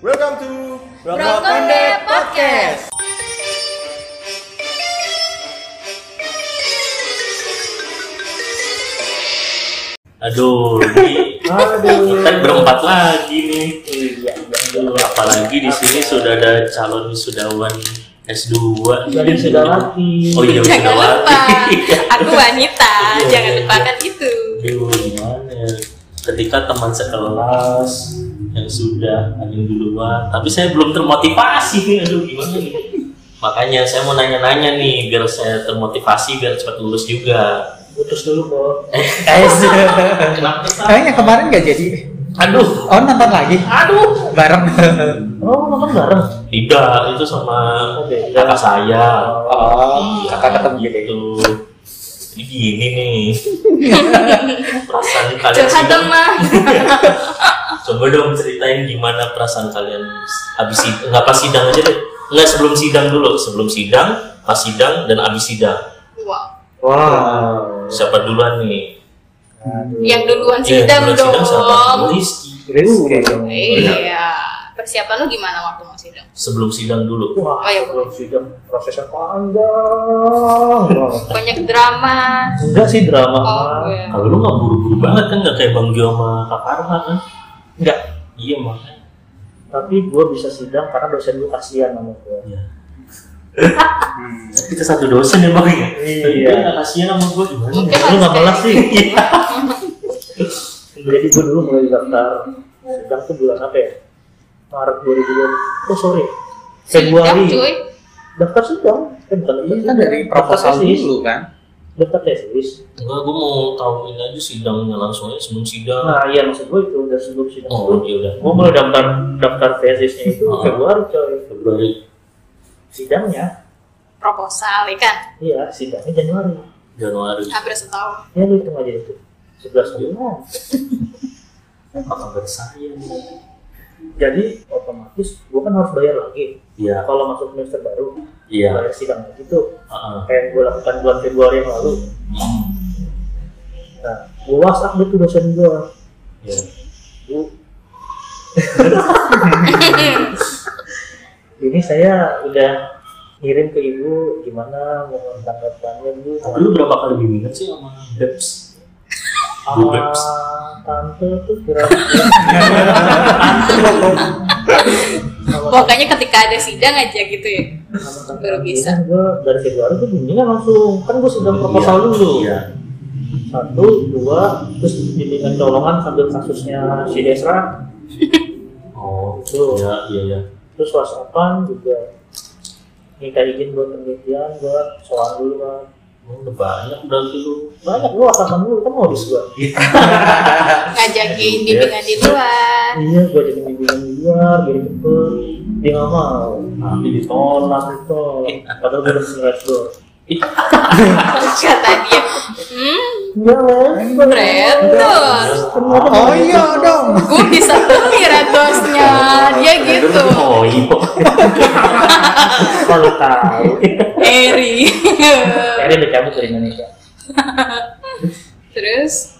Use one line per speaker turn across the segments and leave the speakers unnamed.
Welcome to
Brokonde Podcast.
Aduh, ini kan berempat lagi nih.
Iya.
Aduh, apalagi di sini sudah ada calon wisudawan S2.
Jadi sudah lagi.
Oh iya,
jangan lupa,
wisudawati.
aku wanita,
Iya,
jangan
iya.
lupakan itu.
Aduh, gimana ya? Ketika teman sekelas yang sudah ada yang duluan, tapi saya belum termotivasi nih. Aduh, gimana nih? Makanya saya mau nanya-nanya nih biar saya termotivasi biar cepat lulus juga.
Putus dulu, Bro.
Eh, guys, kenapa
Kayaknya
kesal?
kemarin nggak jadi.
Aduh,
Oh nonton lagi
aduh.
bareng.
Oh, nonton bareng.
Tidak, itu sama
Oke.
kakak saya.
Oh kakak ketemu gitu.
gitu. Jadi gini nih. perasaan kalian
Curhat
sedang,
dong mah.
coba dong ceritain gimana perasaan kalian habis sidang, nggak pas sidang aja deh. Nggak sebelum sidang dulu, sebelum sidang, pas sidang dan habis sidang.
Wow.
Wow.
Siapa duluan nih?
Yang duluan
Iya,
sidang
duluan
dong.
siapa? Rizky.
Rizky.
Iya. Persiapan lu gimana waktu mau sidang?
Sebelum sidang dulu.
Wah,
Oh, iya, Bu.
belum sidang prosesnya panjang. Wah.
Banyak drama.
Enggak sih drama.
Oh, iya.
Kalau lu nggak buru-buru banget kan nggak kayak Bang Gio sama Kak Farhan kan?
Enggak.
Iya makanya.
Tapi gue bisa sidang karena dosen gue kasihan sama gue.
Iya. Kita satu dosen ya Bang ya?
Iya.
Dia nggak kasihan sama gue gimana? ya?
Mungkin
Lu
harus
nggak malas
kayak-
sih.
Iya.
Jadi gue dulu mulai daftar sidang Nah, tuh bulan apa ya? Maret 2020. Oh sorry.
Sidang
Februari.
cuy.
Daftar sidang. Eh, bukan daftar
Kan
sidang.
dari proposal
Daftar tesis.
dulu kan.
Daftar tesis.
Enggak, gue mau tahuin aja sidangnya langsung aja sebelum sidang.
Nah, iya maksud gue itu udah sebelum sidang.
Oh,
Oh.
dia udah
Gue mulai daftar daftar tesisnya itu
Oh.
Februari coy.
Februari
Sidangnya,
Proposal ya kan?
iya sidangnya Januari.
Januari.
Hampir setahun.
Ya lu hitung aja itu. 11 bulan.
Apa kabar saya?
Jadi otomatis gue kan harus bayar lagi. Nah,
Iya,
Kalau masuk semester baru,
iya.
bayar sidang gitu.
Heeh.
Kayak gue lakukan bulan Februari yang lalu.
Hmm,
Nah, gue whatsapp gitu dosen gue.
Iya.
Bu, ini saya udah ngirim ke ibu gimana mau tanggapannya bu
Tapi lu berapa kali bimbingan sih sama Beps? Bu
sama
Beps.
Ah, tante tuh kira-kira sama
Pokoknya ketika ada sidang aja gitu ya. Baru bisa.
gue dari Februari tuh bimbingan langsung kan gue sedang proposal dulu
Iya.
satu dua terus bimbingan colongan sambil kasusnya si Desra
Oh,
Tuh.
iya, iya, iya.
terus whatsappan juga minta izin buat penelitian gue soal dulu kan
Oh, Udah banyak berarti lu.
banyak gue whatsappan dulu kan modus gue
Ngajakin
Iya.
bimbingan di luar.
iya gue jadi bimbingan di luar jadi cepet dia nggak mau
Tapi ditolak.
tolak ditolak padahal gue udah ngeliat gue
Kata dia. Hmm,
Enggak, Len.
Brentos.
Oh iya dong.
Gue bisa beli ratosnya. Dia gitu.
Oh, iya.
gitu. Kalau tahu,
Eri.
akhirnya udah cabut dari Indonesia.
Terus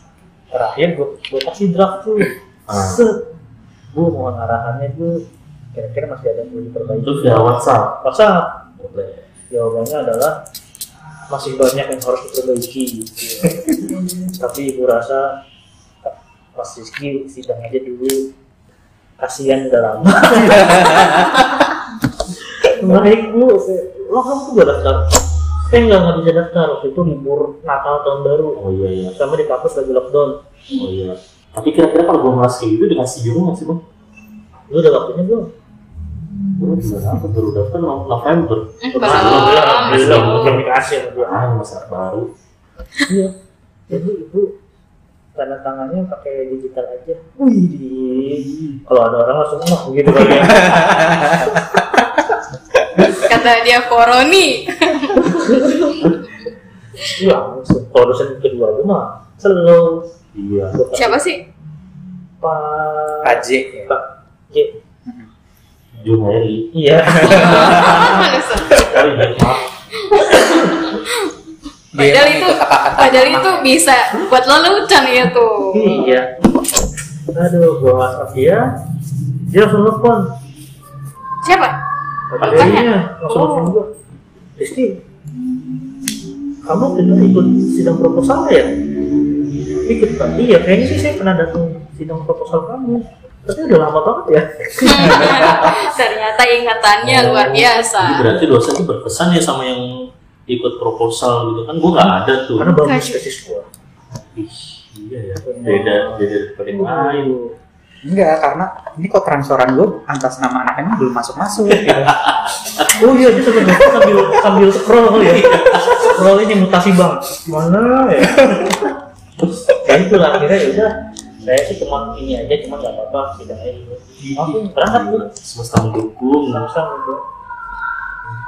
Terakhir gue gue kasih draft tuh.
Ah.
Set. Gue mohon arahannya tuh. Kira-kira masih ada yang perlu diperbaiki.
Itu via WhatsApp.
Masa
Boleh.
jawabannya adalah masih banyak yang harus diperbaiki. gitu. Tapi gue rasa Mas Rizky sidang aja dulu. Kasihan udah lama. Baik bu, lo kamu tuh gak daftar? Saya nggak nggak bisa daftar waktu itu libur Natal tahun baru.
Oh iya, iya.
sama di kampus lagi lockdown
Oh iya. Tapi kira-kira kalau gue ngelas kayak gitu dikasih juru nggak sih, Bang?
lu udah waktunya belum?
Gue bisa apa? Baru daftar no- November.
eh,
belum,
belum dikasih sama dia
Ah, masa baru.
iya jadi itu tanda tangannya pakai digital aja wih kalau ada orang langsung ngomong gitu kali ya
Kata dia koroni.
iya langsung kalau dosen kedua gue mah slow
Iya.
Siapa sih?
pak
AJ.
pak Iya. J
Jun Heri.
iya
Kali ya, maaf.
Padahal itu padahal itu bisa buat lelucon ya tuh.
iya aduh gue whatsapp dia dia langsung telepon
Siapa?
Pak
Bukan
Dewi
ya?
langsung
Oh.
telepon gua. Rizky, kamu waktu itu ikut sidang proposal ya? Ikut Pak. Iya, kayaknya sih saya pernah datang sidang proposal kamu. Tapi udah lama banget ya.
Ternyata ingatannya
Oh.
Iya, luar
Jadi
biasa.
berarti dosen tuh berpesan ya sama yang ikut proposal gitu kan gue nggak ada tuh
Karena bagus
Kasih.
tesis gua.
Ih, iya ya beda beda daripada yang lain
Ayo.
Enggak, karena ini kok transferan gue atas nama anaknya belum masuk-masuk. gitu.
Oh iya, dia sambil sambil, sambil scroll ya. Scrollnya yang mutasi bang. Mana ya? ya itulah akhirnya ya udah. Saya sih cuma ini aja, cuma nggak apa-apa sidangnya dulu. Aku berangkat dulu.
Iya. semesta mendukung
Samsung gua.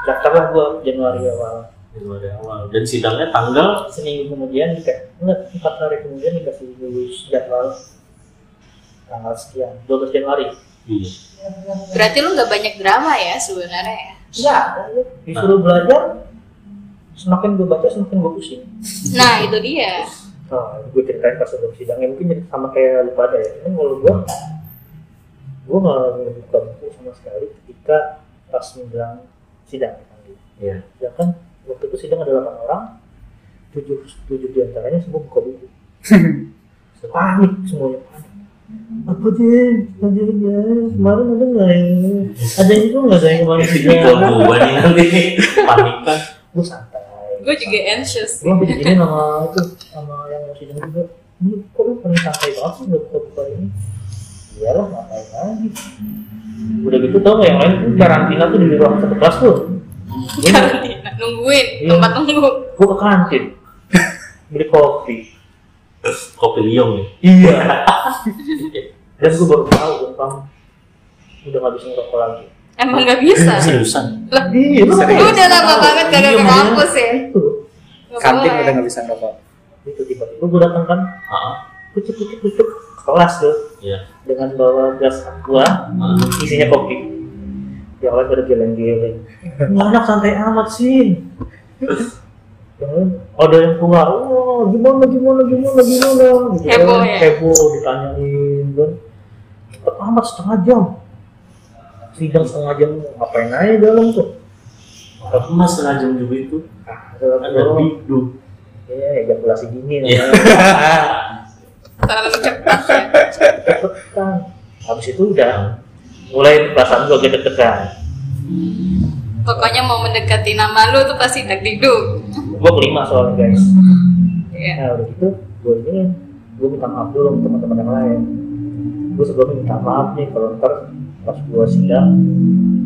Daftarlah gua Januari awal.
dari awal dan sidangnya tanggal
Seminggu kemudian dikasih, enggak, empat hari kemudian dikasih lulus jadwal tanggal sekian, 12 Januari.
iya.
Berarti lu nggak banyak drama ya sebenarnya ya.
Iya, disuruh belajar, semakin gue baca semakin gue pusing.
Nah itu dia.
Nah, gue ceritain pas sebelum sidangnya mungkin jadi sama kayak lu pada ya. Cuman kalau gue, gue nggak membuka buku sama sekali ketika pas menjelang sidang dipanggil.
Iya.
Sedangkan Ya kan, waktu itu sidang ada 8 orang, tujuh tujuh diantaranya semua buka buku. panik semuanya panik. Hmm. Apa deh, lanjutnya kemarin ada nggak yang ada yang itu nggak ada yang
Iya,
kemarin sidang?
Itu gua nih nanti nih panik kan
Gue santai.
Gue juga anxious.
Gue sampai gini sama itu sama yang mau sidang juga. Ini kok lu paling santai banget sih nggak buka buka ini? Iyalah ngapain lagi? Udah gitu tau nggak yang lain tuh karantina tuh di ruang satu kelas tuh. Gue
Iya.
Karantina. Nungguin
Iya.
tempat nunggu.
gue ke kantin beli kopi.
kopi liong ya
Iya. Dan gue baru tahu gue pam udah nggak bisa ngerokok lagi.
Emang nggak bisa.
seriusan
Lah,
Iya, lu
Serius?
Lu udah lama banget kagak
Iya,
ke
makanya
kampus ya?
Itu
Nggak
Kantin
boleh.
udah nggak bisa ngerokok.
Itu tiba-tiba gue datang kan,
ah
kucuk kucuk kucuk ke kelas tuh
ya
dengan bawa gelas aqua
ah.
isinya kopi yang lain pada geleng-geleng ini anak santai amat sih yang lain ada yang keluar oh gimana gimana gimana gimana gitu
Heboh ya?
heboh ditanyain kan cepet amat setengah jam sidang setengah jam ngapain aja dalam tuh
tapi mas setengah jam juga itu
ah dalam
ada
doang
bidu
ya ejakulasi dingin
Iya.
Terlalu cepat ya.
cepetan habis itu udah mulai perasaan gua agak deg-degan
Pokoknya mau mendekati nama lu tuh pasti deg degdug.
gua kelima soalnya guys
Iya.
Nah, udah gitu, gue ini gue minta maaf dulu sama teman-teman yang lain. Gue sebelumnya minta maaf nih kalau ntar pas gue sidang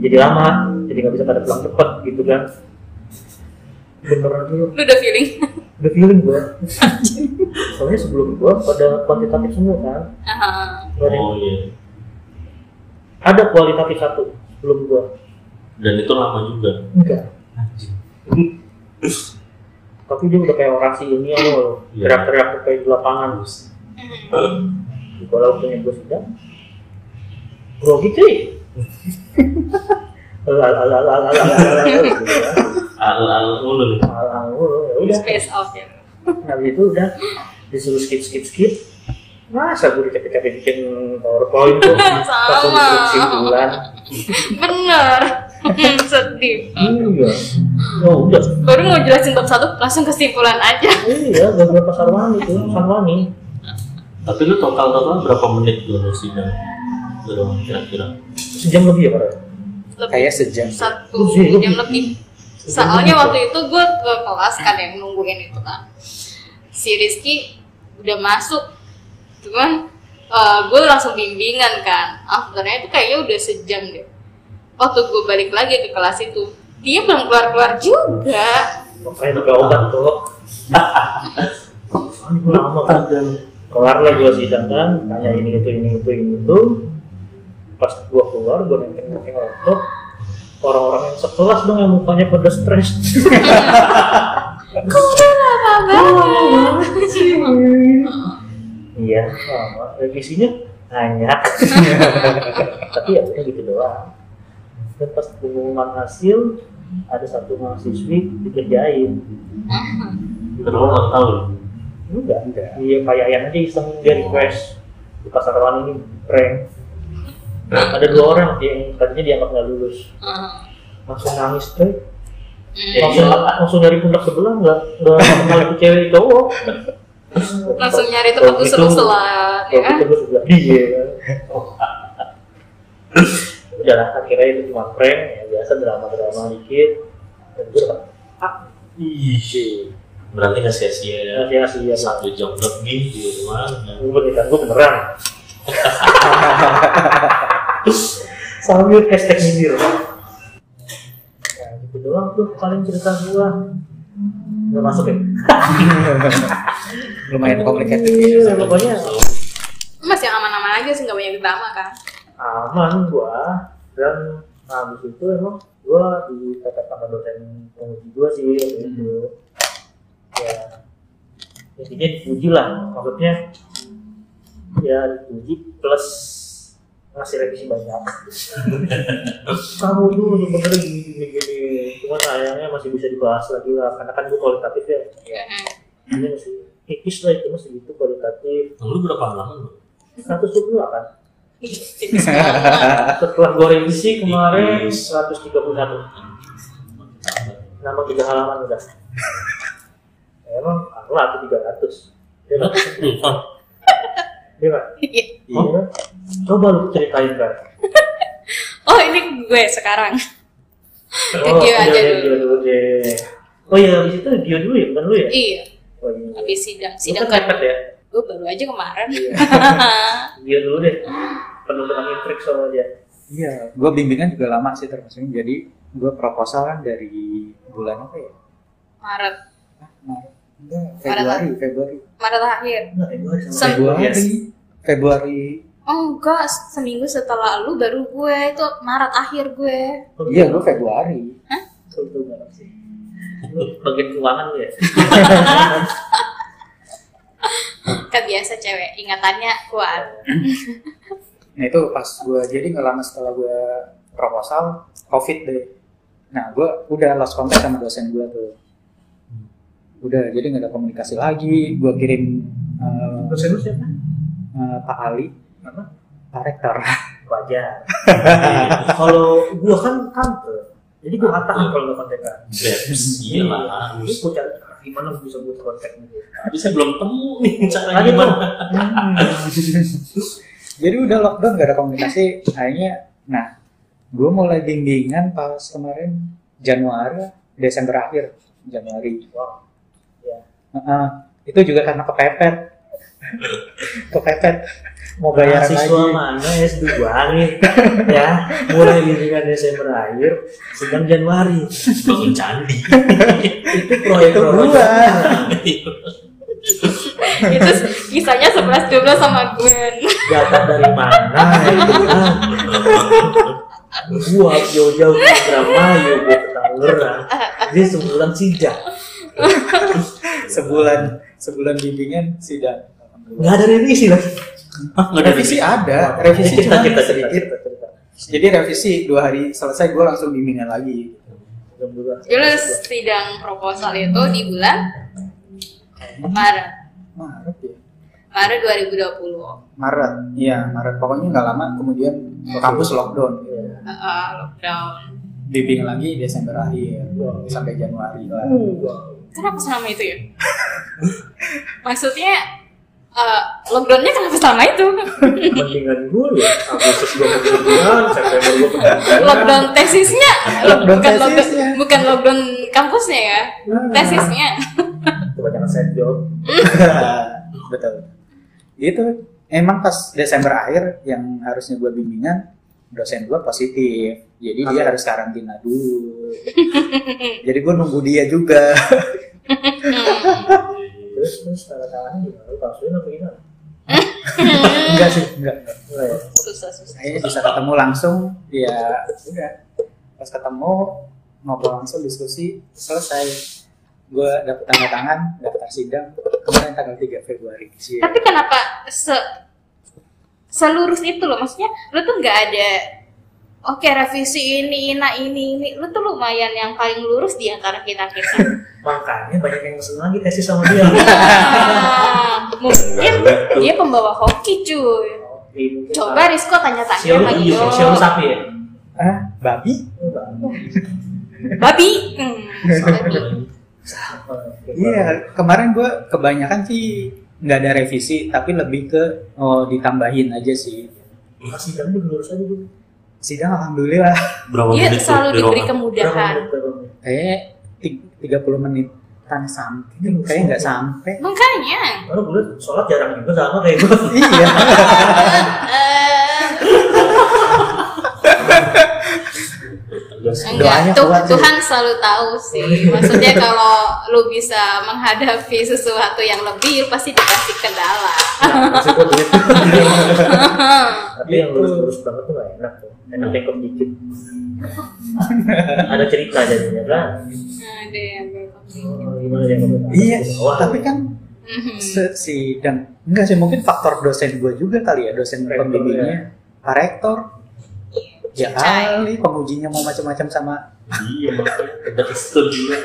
jadi lama, jadi nggak bisa pada pulang cepet gitu kan. Beneran dulu,
Lu udah feeling?
udah feeling gue. Soalnya sebelum gue pada kuantitatif semua kan,
Aha.
Nggak ada yang-
oh iya
ada kualitatif satu sebelum gue.
dan itu lama juga
Enggak. Tapi dia udah kayak orasi ini loh,
Iya.
teriak-teriak kayak di lapangan. Kalau waktunya gue sudah grogi cuy
al al ulu nih
udah
Space out ya.
habis itu udah disuruh skip skip skip masa gue dicapek-capek bikin powerpoint tuh pas
Sama.
disuruh kesimpulan
Bener. Hmm, Sedih.
iya oh udah
Baru mau jelasin bab satu langsung kesimpulan aja.
iya gak berapa sarwani tuh sarwani
tapi lu total total berapa menit dulu sidang berapa kira-kira
sejam lebih ya pak
Lebih
Kayak sejam.
satu jam lebih. Soalnya waktu itu gue ke kelas kan yang nungguin itu kan. Si Rizky udah masuk, cuman gue langsung bimbingan kan. Afternya itu kayaknya udah sejam deh. Waktu gue balik lagi ke kelas itu, dia belum keluar keluar juga.
makanya buka obat tuh Aduh, lama kan kelar lah gue sidang kan tanya ini itu ini itu ini itu pas gue keluar gue nenteng nenteng laptop orang-orang yang sekelas dong yang mukanya pada stres
Kok udah lama banget.
iya lama revisinya banyak tapi ya udah gitu doang dan pas pengumuman hasil ada satu mahasiswi dikerjain
terus lu nggak tahu lu?
enggak enggak iya kayak yang aja iseng dia request di pasar ini prank ada dua orang yang tadinya dianggap nggak lulus
Heeh.
langsung nangis tuh
Hmm.
Ya,
langsung
iya.
langsung dari pundak sebelah nggak nggak kenal itu cewek cowok
langsung nyari tempat
Kalau gitu-
usul-usulan ya kan
Waktu itu gue gitu sebelah
Iya.
dia kan. udah lah akhirnya itu cuma prank ya biasa drama drama dikit dan gue dapat
Ih, berarti nggak sia-sia ya.
nasihat sih ya
Satu jam lebih di rumah. ya.
gue pernikahan gue beneran sambil hashtag nyindir ya gitu doang tuh paling cerita gue udah masuk ya
Lumayan komplikatif ya.
iya pokoknya
masih yang aman-aman aja sih nggak banyak drama kan
aman gua dan nah, habis itu emang gua dikata sama dosen penguji gua sih waktu itu ya intinya dipuji lah maksudnya ya dipuji plus ngasih revisi banyak kamu dulu bener gini gini gini cuman sayangnya masih bisa dibahas lagi lah karena kan gua kualitatif ya
Heeh.
ini masih tipis lah itu masih gitu kualitatif
Nah, Lu berapa lama?
128
tipis banget
setelah gue revisi kemarin 131 nama tiga halaman udah Ya, emang kalah tuh 300 ya kan ya kan
Iya.
Iya
Oh,
kan? coba lu ceritain kan
oh ini gue sekarang Ke Gio
iya,
aja
iya,
dulu.
Gio dulu deh oh iya habis itu Gio dulu ya bukan lu ya
iya
oh, iya.
habis sidang
Lu
sidang
kan mepet
kan
ya
gue baru aja kemarin
Iya. Gio dulu deh penuh dengan intrik sama dia
Iya, gue bimbingan juga lama sih termasuknya. Jadi gue proposal kan dari bulan apa ya?
Maret
Hah, Maret? Enggak,
Maret lah.
Februari, Februari.
Maret akhir
Nah, Februari sama
Sem-
Februari.
Yes.
Februari.
oh enggak seminggu setelah lu baru gue itu Maret akhir gue
Oh,
Iya, gue Februari.
Untung gitu. banget sih. Lu bagian keuangan lu ya?
kan biasa cewek ingatannya kuat
Nah itu pas gue jadi nggak lama setelah gue proposal covid deh. Nah gue udah lost contact sama dosen gue tuh. Hmm. Udah jadi nggak ada komunikasi lagi. Gue kirim eh,
Dosen lu siapa?
eh, Pak Ali,
Apa?
Pak Rektor.
wajar kalau gua kan kanker jadi gua katakan kalau gak kontekan
Babs, iya lah
ini
harus.
gua cari ah, gimana gua bisa buat kontaknya dia
Tapi saya belum temu nih cara
Ada
gimana.
Hmm.
jadi udah lockdown nggak ada komunikasi. Akhirnya, nah gue mulai bimbingan pas kemarin Januari, Desember akhir Januari. Iya.
wow
Heeh. itu juga karena kepepet kepepet mau bayaran
mahasiswa
lagi
mana S2 angin ya mulai bimbingan Desember akhir sedang Januari
Bangun candi.
itu proyek
itu
proyek
gua
itu kisahnya 11 12 sama Gwen
data dari mana itu kan gua jauh-jauh ke Indramayu gua ke Tangerang dia sebulan sidang
sebulan sebulan bimbingan sidang
nggak ada revisi lagi
Nggak ada
revisi ada revisi
Cerita,
cuma
cerita, cerita,
sedikit
cerita, cerita.
jadi revisi dua hari selesai gue langsung bimbingan lagi
dulu sidang proposal itu di bulan Maret
Maret ya
Maret 2020
Maret iya Maret pokoknya nggak lama kemudian kampus lockdown
Uh, lockdown
bimbingan lagi Desember akhir
Wow.
sampai Januari lah
kenapa selama itu ya maksudnya eh, lockdownnya kenapa selama itu
Mendingan gue ya, Agustus gue pendidikan, September gue pendidikan.
lockdown tesisnya
Iya. Lockdown
bukan
tesisnya. Hmm.
lockdown bukan lockdown kampusnya ya tesisnya
Nah, Kebanyakan side job.
betul itu emang pas Desember akhir yang harusnya gue bimbingan dosen gue positif jadi dia
Oke.
harus karantina dulu jadi gue nunggu dia juga
Iya,
Terus terus tanda tangannya gimana? Lu palsuin apa gimana?
enggak sih enggak enggak.
Enggak ya?
susah susah
akhirnya bisa ketemu langsung ya udah pas ketemu ngobrol langsung diskusi selesai gue dapet tanda tangan daftar sidang kemarin tanggal 3 Februari Cie.
tapi kenapa se selurus itu loh maksudnya lu tuh nggak ada oke revisi ini ina ini ini lu tuh lumayan yang paling lurus di antara kita kita
Makanya banyak yang pesen lagi tesis sama dia.
Nah, mungkin dia pembawa hoki cuy
di mungkin
Coba Rizko tanya-tanya
Siul
sama
iya,
Ido.
siul sapi ya.
ah babi
Babi. Hmm, babi.
Iya, kemarin gue kebanyakan sih nggak ada revisi, tapi lebih ke oh ditambahin aja sih.
Masih jam tuh lurus aja dulu.
Sidang alhamdulillah.
Berapa
Dia
menit
Iya, selalu
tuh di
diberi
ruangan?
kemudahan.
Kayaknya ti- 30 menit tan sampai, kayaknya nggak sampai.
Makanya.
Baru gue sholat jarang juga sama kayak gue.
iya.
Eh,
Doanya
Iya,
enggak, tuh,
kuat sih.
Tuhan selalu tahu sih. Maksudnya kalau lu bisa menghadapi sesuatu yang lebih, lu pasti dikasih kendala.
Masih gue duit. Tapi
Gitu.
yang lurus-lurus banget tuh gak enak tuh. Enak bengkok dikit. Ada cerita jadinya kan.
Ada yang berkonflik.
Oh, Gimana yang
Iya,
Wah,
tapi kan
Mhm.
se- sidang enggak sih mungkin faktor dosen gue juga kali ya, dosen
Rektor,
pembimbingnya, Pak rektor. Ya
Cai.
kali pengujinya mau macam-macam sama
Iya, makanya. Ada pistol juga.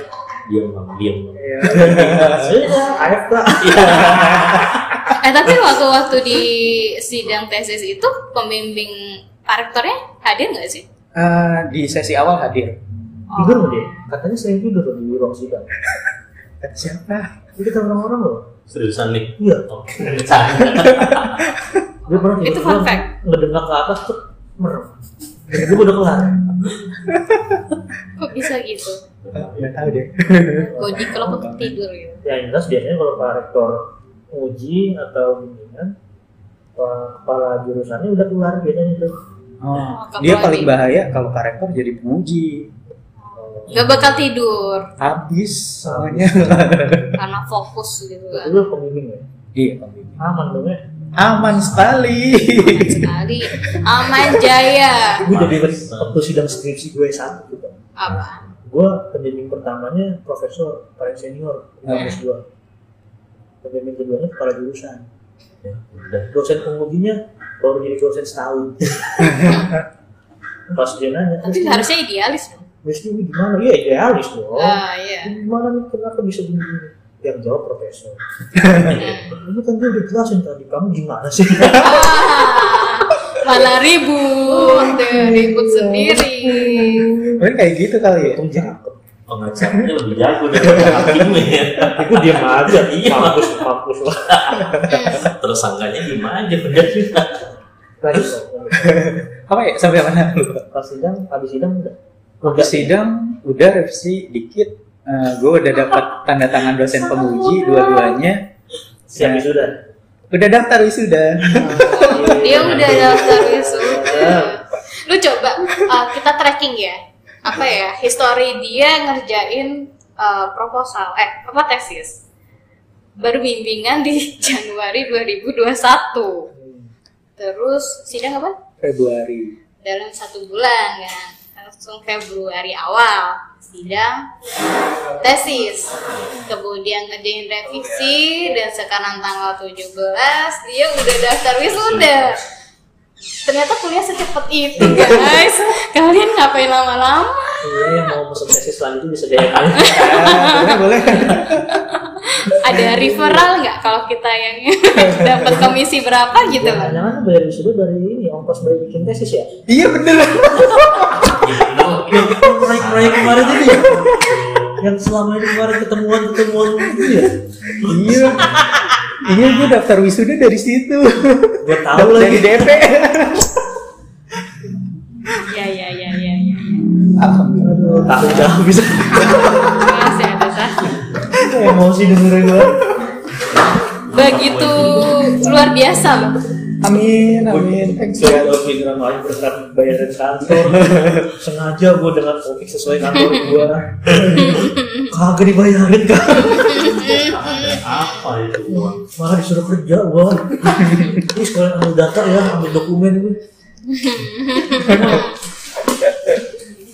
Diam, Bang. Iya. Diam, Bang.
Iya. Sudah, Iya. ayat lah.
Eh tapi waktu waktu di sidang tesis itu pembimbing parektornya hadir nggak sih? Oh,
eh, di sesi awal hadir.
Tidur nggak dia? Katanya sering tidur loh di ruang sidang.
Siapa?
Jadi kata orang-orang loh.
Seriusan nih.
Iya.
Oke. Bercanda.
Gue pernah
Itu
tidur,
fun fact.
Ngedengak ke atas tuh merem. Dan gue udah kelar.
Kok bisa gitu?
Eh, Nggak tahu deh.
Godi kalau aku tidur gitu.
Ya yang jelas biasanya kalau Pak Rektor uji atau bimbingan Pak kepala jurusannya udah keluar biasanya itu
Oh,
Kak
dia
Prodi.
paling bahaya kalau Pak Rektor jadi penguji.
Gak bakal tidur
Habis semuanya.
karena fokus gitu
itu
kan.
juga pembimbing ya
iya, Pak Bibi.
aman dong ya
Aman sekali.
Sekali Aman Jaya.
gue jadi
Aman.
waktu sidang skripsi gue satu gitu
Apa?
gue pembimbing pertamanya profesor paling senior
Hmm.
S2 pembimbing keduanya kepala jurusan
Ya, udah.
dosen pengujinya baru jadi dosen setahun pas dia nanya
Tapi
terus
harusnya idealis dong.
ini gimana iya idealis dong
Ah iya.
gimana nih kenapa bisa begini yang jawab profesor ini kan dia udah jelasin tadi kamu gimana sih
Ah, malah ribut, deh, ribut sendiri.
Mungkin kayak gitu kali ya.
untung cakep
Pengacaranya lebih jago daripada hakimnya ya.
tapi gue diam aja
Iya.
mampus mampus lah
Hmm.
Tersangkanya gimana aja udah.
lanjut
Apa ya? Sampai mana? Lupa.
pas sidang habis sidang udah
Habis sidang udah revisi dikit. gue udah dapat tanda tangan dosen penguji dua-duanya.
siap sudah
Udah daftar wisuda.
Dia udah
Iya.
daftar wisuda. Lu coba uh, kita tracking ya. Apa ya? History dia ngerjain uh, proposal eh apa tesis. Baru bimbingan di Januari 2021. Terus sidang apa?
Februari.
dalam satu bulan ya langsung Februari awal sidang tesis kemudian ngerjain revisi dan sekarang tanggal 17 dia udah daftar wisuda ternyata kuliah secepat itu guys kalian ngapain lama-lama
iya yang mau pesen tesis selanjutnya bisa DM
Gitu,
Ah,
aja
boleh boleh.
ada referral nggak kalau kita yang dapat komisi berapa gitu loh
jangan bayar wisuda dari ini ongkos bayar bikin tesis ya
iya bener.
proyek-proyek kemarin itu ya yang selama ini kemarin ketemuan-ketemuan gitu ya
iya. Iya, gue daftar wisuda dari situ.
gue tahu
Daftar
lagi
dari DP.
ya ya ya ya ya
Alhamdulillah.
tahu tahu bisa
masih ada satu
emosi dengerin gue
begitu luar biasa loh
Amin, amin. Thanks
Gue
ya.
udah pikiran lain tentang bayaran kantor Sengaja gue dengan topik sesuai kantor gue Kagak dibayarin kan
Apa itu? Bang?
Malah disuruh kerja gue Ini sekalian ambil data ya, ambil dokumen gue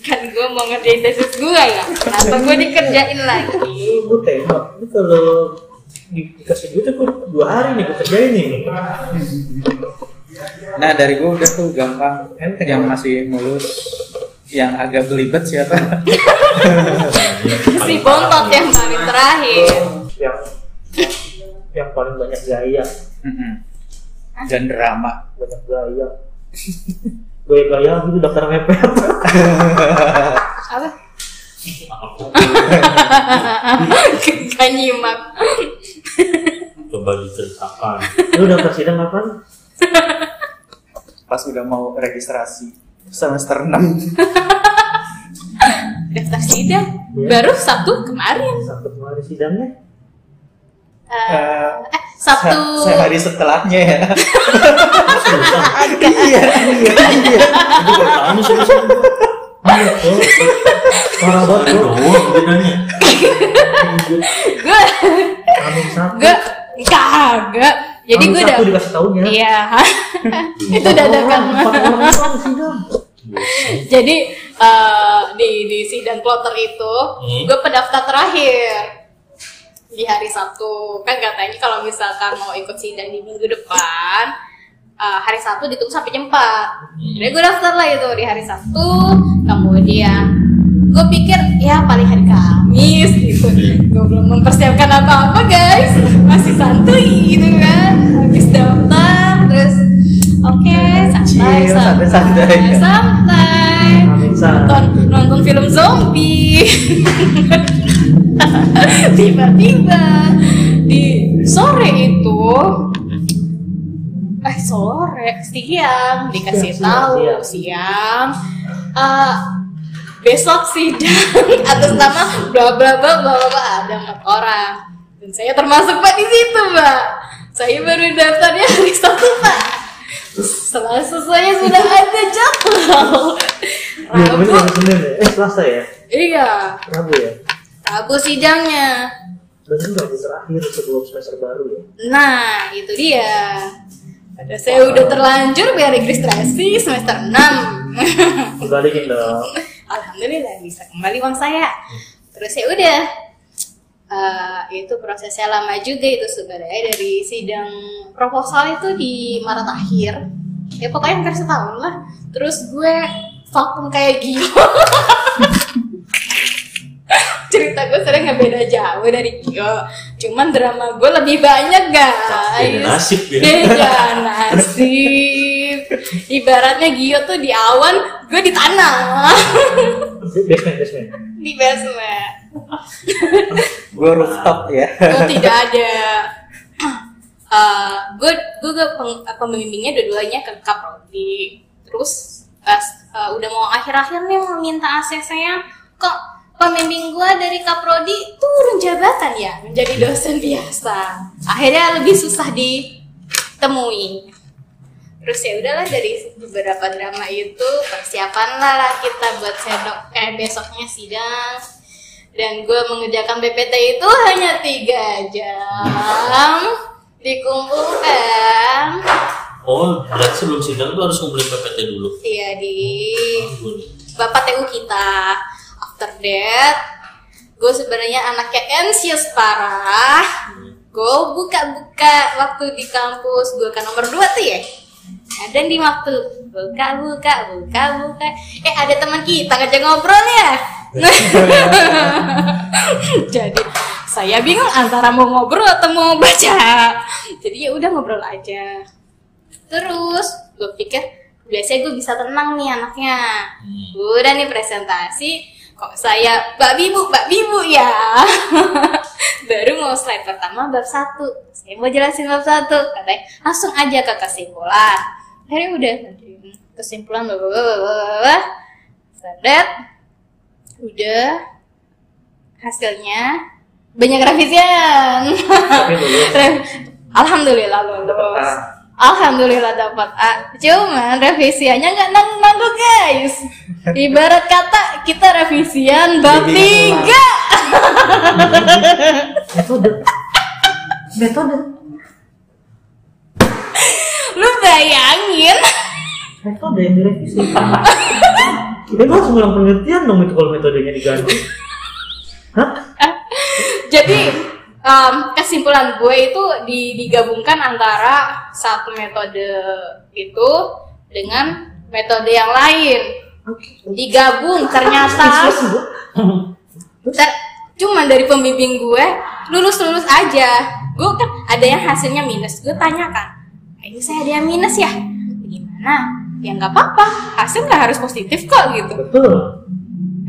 kan gue mau ngerjain tesis gue ya kenapa gue dikerjain lagi
Gue Iya, tembak, ini kalau di- dikasih duit gue dua hari nih gue kerjain nih
Nah dari gue udah tuh gampang
Enteng.
yang masih mulus yang agak belibet siapa?
si bontot yang paling terakhir
Yang yang paling banyak gaya
Mm-mm. dan drama
banyak gaya gaya-gaya gitu daftar mepet
apa gak nyimak
coba diceritakan
lu daftar sidang kapan?
pas udah mau registrasi semester 6
daftar sidang baru Sabtu kemarin
Sabtu kemarin sidangnya
Eh, eh Sabtu
Ah, sehari setelahnya ya
Ada. Iya, iya, iya. Itu gak tahu sih. Iya, tuh. Parah banget
Kalian
lu.
doang bedanya
gue
Kami satu.
gue kagak jadi
Kami
gue udah
satu Anu, dikasih tahunya.
iya itu dadakan
Empat orang doang sidang.
jadi eh, di di sidang kloter itu
Hmm.
gue pendaftar terakhir di hari Sabtu kan katanya kalau misalkan mau ikut sidang di minggu depan eh, hari Sabtu ditunggu sampai jam 4 jadi gue daftar lah itu di hari Sabtu kemudian gue pikir ya paling hari Kamis gitu gue belum mempersiapkan apa-apa guys masih santuy gitu kan habis daftar terus oke santai
Chill,
santai
santai-santai.
santai
Kami satu.
nonton nonton film zombie tiba-tiba di sore itu eh sore siang dikasih
Siang, siang,
tahu
siang.
siang eh, besok sidang atas nama bla bla bla bla bla bla ada empat orang dan saya termasuk pak di situ pak saya baru daftarnya hari satu pak selasa saya sudah ada jadwal
Iya,
rabu
kemarin hari Senin ya. Eh, Selasa ya?
iya
Rabu ya?
rabu sidangnya
Berarti Rabu terakhir sebelum semester baru ya?
Nah, itu dia. Ada saya udah terlanjur biar registrasi semester 6.
Kembaliin dong.
Alhamdulillah bisa kembali uang saya. Terus ya udah. Eh, itu prosesnya lama juga itu sebenarnya dari sidang proposal itu di Maret akhir. Ya pokoknya hampir setahun lah. Terus gue vakum kayak Gio. Cerita gue sering nggak beda jauh dari Gio. Cuman drama gue lebih banyak
Beda
guys.
Iya, nasib ya.
Beda nasib. Ibaratnya Gio tuh di awan, gue di tanah.
Basement, basement.
di basement.
gue rooftop ya
Gue Oh, tidak ada. Eh, gue gue gue peng- eh, pembimbingnya dua-duanya ke kaprodi. Terus pas eh, udah mau akhir-akhir nih mau minta ACC-nya kok pembimbing gue dari kaprodi turun jabatan ya menjadi dosen biasa. Akhirnya lebih susah ditemui. Terus ya udahlah dari beberapa drama itu persiapan lah kita buat sedok eh besoknya sidang dan gue mengerjakan PPT itu hanya tiga jam dikumpulkan
oh berarti sebelum sidang tuh harus ngumpulin PPT dulu
ya di bapak TU kita after that gue sebenarnya anaknya anxious parah gue buka-buka waktu di kampus gue kan nomor 2 tuh ya ada di waktu buka buka buka buka eh ada teman kita ngajak ngobrol ya jadi saya bingung antara mau ngobrol atau mau baca jadi ya udah ngobrol aja terus gue pikir biasanya gue bisa tenang nih anaknya udah nih presentasi kok saya mbak bibu mbak bibu ya baru mau slide pertama bab satu saya mau jelasin bab satu katanya langsung aja ke kesimpulan akhirnya udah kesimpulan bla bla bla bla, bla bla, bla Sadet. udah hasilnya banyak revisian
Tapi lulus.
Re- Alhamdulillah
Dapat
lulus.
A.
Alhamdulillah dapat A. Cuman revisiannya nggak nanggung nanggung guys. Ibarat kata kita revisian bab
Jadi
tiga.
Metode.
Lu bayangin?
Metode yang direvisi. Ini gua harus ngulang penelitian dong itu kalau metodenya diganti. Hah?
Jadi em, kesimpulan gue itu di- digabungkan antara satu metode itu dengan metode yang lain. Digabung ternyata.
Terus gua-
Ter- cuman dari pembimbing gue lulus lulus aja gue kan ada yang hasilnya minus gue tanyakan ini saya ada yang minus ya gimana ya nggak apa-apa hasil nggak harus positif kok gitu
betul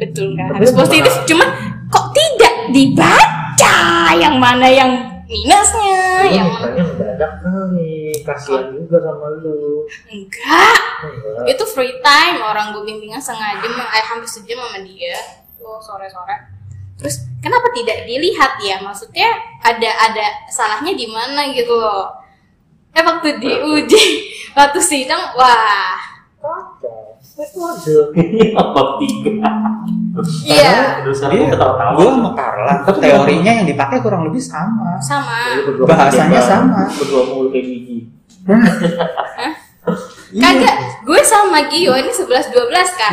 Betul
Iya.
nggak
Tapi
harus
bukan-
positif, cuman kok tidak dibaca yang mana yang minusnya,
Lu
Iya.
yang mana
mukanya mendadak Iya. kali kasihan juga sama lu
enggak.
Enggak.
Itu free time orang gue bimbingan sengaja meng- eh, hampir sejam sama dia tuh sore-sore. Terus kenapa tidak dilihat ya? Maksudnya ada ada salahnya di mana gitu loh. Eh waktu diuji waktu sidang wah
kacau itu aja
Ini abab tiga.
Iya.
Terus
Iya,
sekarang gua ketawa-tawa.
gue sama Carla. Teorinya yang dipakai kurang lebih sama.
Jadi
sama
berdua
Bahasanya
kayak
sama.
bang, berdua mulu kayak gigi
kagak gue sama Gio ini 11 12 kan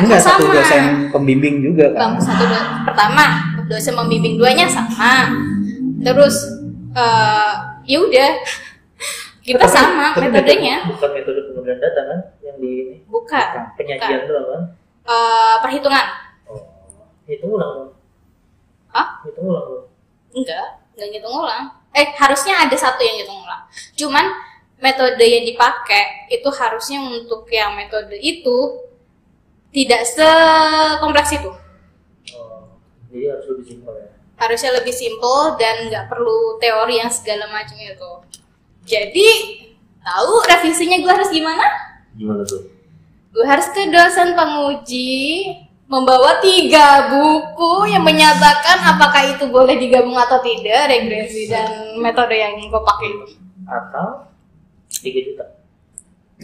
Iya. Enggak
sama
satu dosen pembimbing juga kan.
Bang satu do- pertama dosen pembimbing duanya sama. Terus eh ya udah kita
Tapi-
sama
tapi
metodenya
bukan metode penggunaan data kan yang di ini
buka
penyajian doang kan
eh perhitungan.
itu ulang
Hah?
itu ulang dong.
Enggak, enggak ngitung ulang. Eh harusnya ada satu yang ngitung ulang. Cuman metode yang dipakai itu harusnya untuk yang metode itu tidak sekompleks itu.
Oh, jadi harus lebih simpel ya
harusnya lebih simple dan nggak perlu teori yang segala macam itu. Jadi tahu revisinya gue harus gimana?
Gimana tuh?
Gue harus ke dosen penguji membawa tiga buku yang menyatakan apakah itu boleh digabung atau tidak regresi dan metode yang gue pakai itu.
atau 3 juta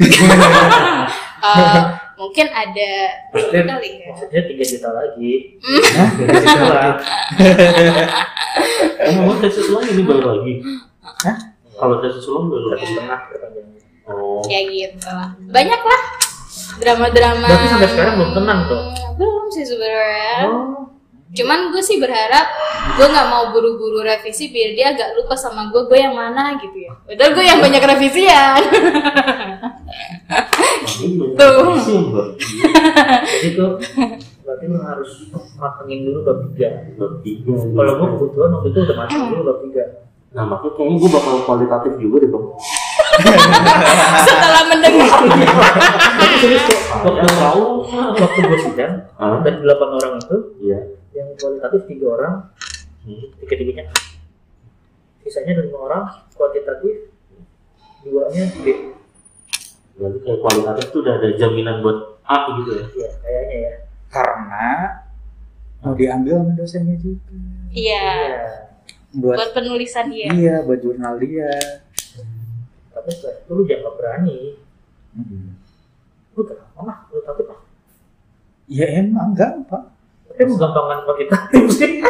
Eh, mungkin ada kali Hmm. ya.
maksudnya 3 juta lagi
Gitu lah.
Emang gua tesis ulang ini baru lagi.
Hah?
Kalau tesis ulang baru
satu
lagi.
setengah perpanjangnya
Oh.
ya gitu lah banyak lah drama-drama Hmm,
Berarti sampai sekarang belum tenang tuh?
belum sih sebenarnya
oh
cuman gue sih berharap gue nggak mau buru-buru revisi biar dia agak lupa sama gue gue yang mana gitu ya padahal gue yang banyak revisian
Nah,
gitu. Tuh.
Sih, Mbak.
jadi tuh berarti lu harus matengin dulu bab 3
Abab tiga.
kalau gua kebutuhan waktu itu udah masuk dulu bab 3
Nah, makanya kayaknya gue bakal kualitatif juga deh, Bang.
setelah mendengar
tapi serius kok waktu tahu waktu gua sidang
Hah?
dari 8 orang itu
Iya.
yang kualitatif 3 orang
Hmm.
tiga-tiganya A. sisanya ada lima orang kuantitatif duanya B
Berarti kayak kualitatif tuh udah ada jaminan buat A gitu ya.
ya kayaknya ya
Karena mau diambil sama dosennya juga.
iya
Iya.
Buat
buat penulisan dia
iya, buat jurnal dia.
tapi setelah itu lu jangan berani lu gampang lah lu tapi ah,
Ya emang gampang.
tapi mau gampangan kuantitatif sih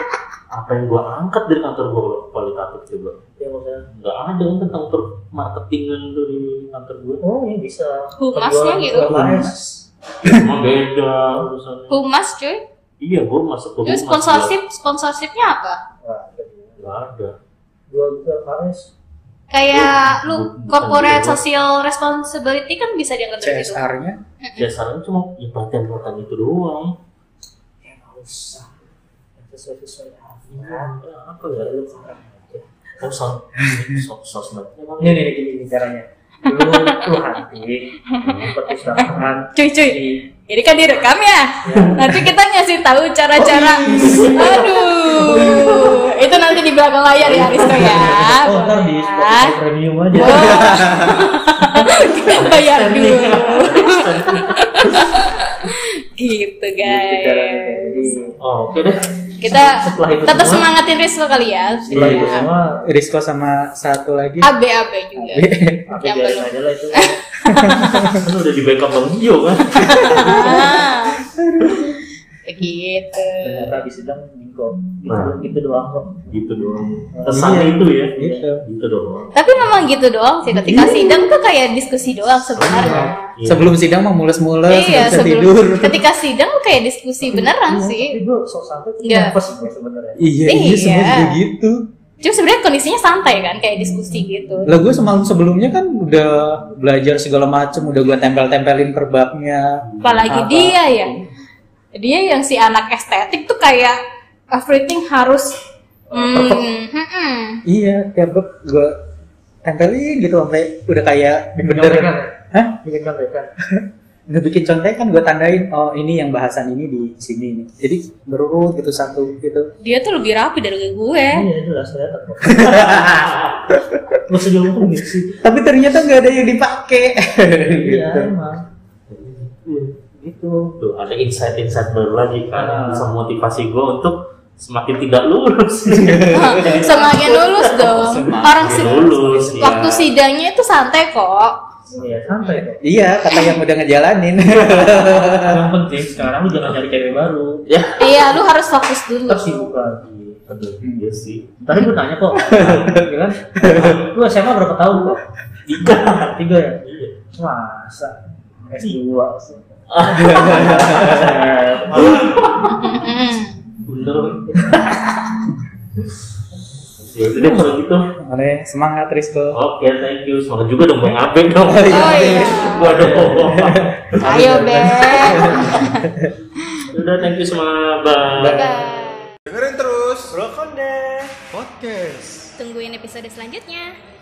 Apa yang gue angkat dari kantor gue kualitatif coba?
ya maksudnya
Nggak ada kan tentang per marketingan tuh di kantor gue.
oh ini bisa
Humasnya
Penjualan
gitu.
online.
Emang beda urusannya.
humas cuy
Iya, gue masuk ke
terus
humas, iya.
sponsorship sponsorshipnya apa
Wah, jadi
gua. Nggak ada.
jual gitu LKS
kayak
Bu-
lu
bukan
corporate
juga.
social responsibility kan bisa dianggap dari situ
CSR-nya
Dasarnya cuma ya pelatihan-pelatihan itu doang.
ya nggak usah Yang sesuai-sesuai aja
Ya, apa ya?
Iya. lu keren aja
Oh, sos sos sosmed. Emang
ini nih gini gini caranya lu lu hanti perpustakaan
cuy cuy
di
ini kan direkam
Iya.
ya nanti kita ngasih tahu cara-cara
Oh, iya.
aduh itu nanti di belakang layar ya Aristo ya
Oh, ntar di ya.
Boleh.
Spotify Premium aja.
Oh. bayar dulu gitu
Gitu caranya. Jadi,
guys
Oh, oke deh.
kita
Setelah itu
tetap
semua-
semangatin Rizko kali ya
setelah itu semua,
Risco sama satu lagi Iya,
AB AB juga
Iya. apa
Yang
biarin
belum.
aja lah itu.
Kan udah di backup Bang Gio kan.
Iya.
Ah. Gitu. begitu
Ternyata habis sidang bingung.
Nah.
Itu, itu doang kok.
gitu doang. Kesannya
Iya.
itu ya.
Gitu.
Gitu doang.
tapi memang gitu doang sih ketika sidang tuh kayak diskusi doang sebenarnya
Iya.
Sebelum sidang mah mules-mules, nggak
iya
bisa
sebelum
tidur.
ketika sidang tuh kayak diskusi beneran
Iya,
sih
Tapi gue sok santai tuh
Iya.
nervous gue sebenarnya.
Iya, iya,
Iya.
semua juga gitu.
Cuma sebenarnya kondisinya santai kan, kayak diskusi gitu.
Lah gue semalam sebelumnya kan udah belajar segala macem, udah gue tempel-tempelin kerbaknya.
Apalagi
Apa?
dia ya, dia yang si anak estetik tuh kayak everything harus, hmm, hmm, hmm.
Iya, tiap gue, gue tempelin gitu sampai udah kayak bener
Contekan ya?
Hah?
Bikin contekan.
nggak bikin contekan gue tandain oh ini yang bahasan ini di sini nih. jadi berurut gitu satu gitu
Dia tuh lebih rapi dari gue.
Iya jelas kelihatan. kok. Lu sejauh pun gitu sih.
tapi ternyata nggak ada yang dipakai
Iya
gitu.
emang. Gitu.
Tuh, ada insight-insight baru lagi kan yang
Ah.
bisa motivasi gue untuk semakin tidak lurus.
Hah, Semakin lulus dong. Orang si-
Semakin lulus. iya.
waktu sidangnya itu santai kok.
Iya santai dong.
iya kata yang udah ngejalanin
Yang penting sekarang lu jangan cari cewek baru.
Ya.
Iya, lu harus fokus dulu.
Tetap sibuk lagi.
Aduh, iya sih.
Tadi gue nanya kok, ya kan? Lu SMA berapa tahun kok?
Tiga.
Tiga ya?
Iya.
Masa? S2 sih.
Mm-mm.
Bener. Ya udah deh kalau gitu.
oleh semangat Rizko
Oke, thank you. Semangat juga dong Bang Aben dong.
Oh iya.
Waduh.
Ayo, Beb.
Udah, thank you semua. Bye.
Bye.
Dengerin terus.
Tungguin episode selanjutnya.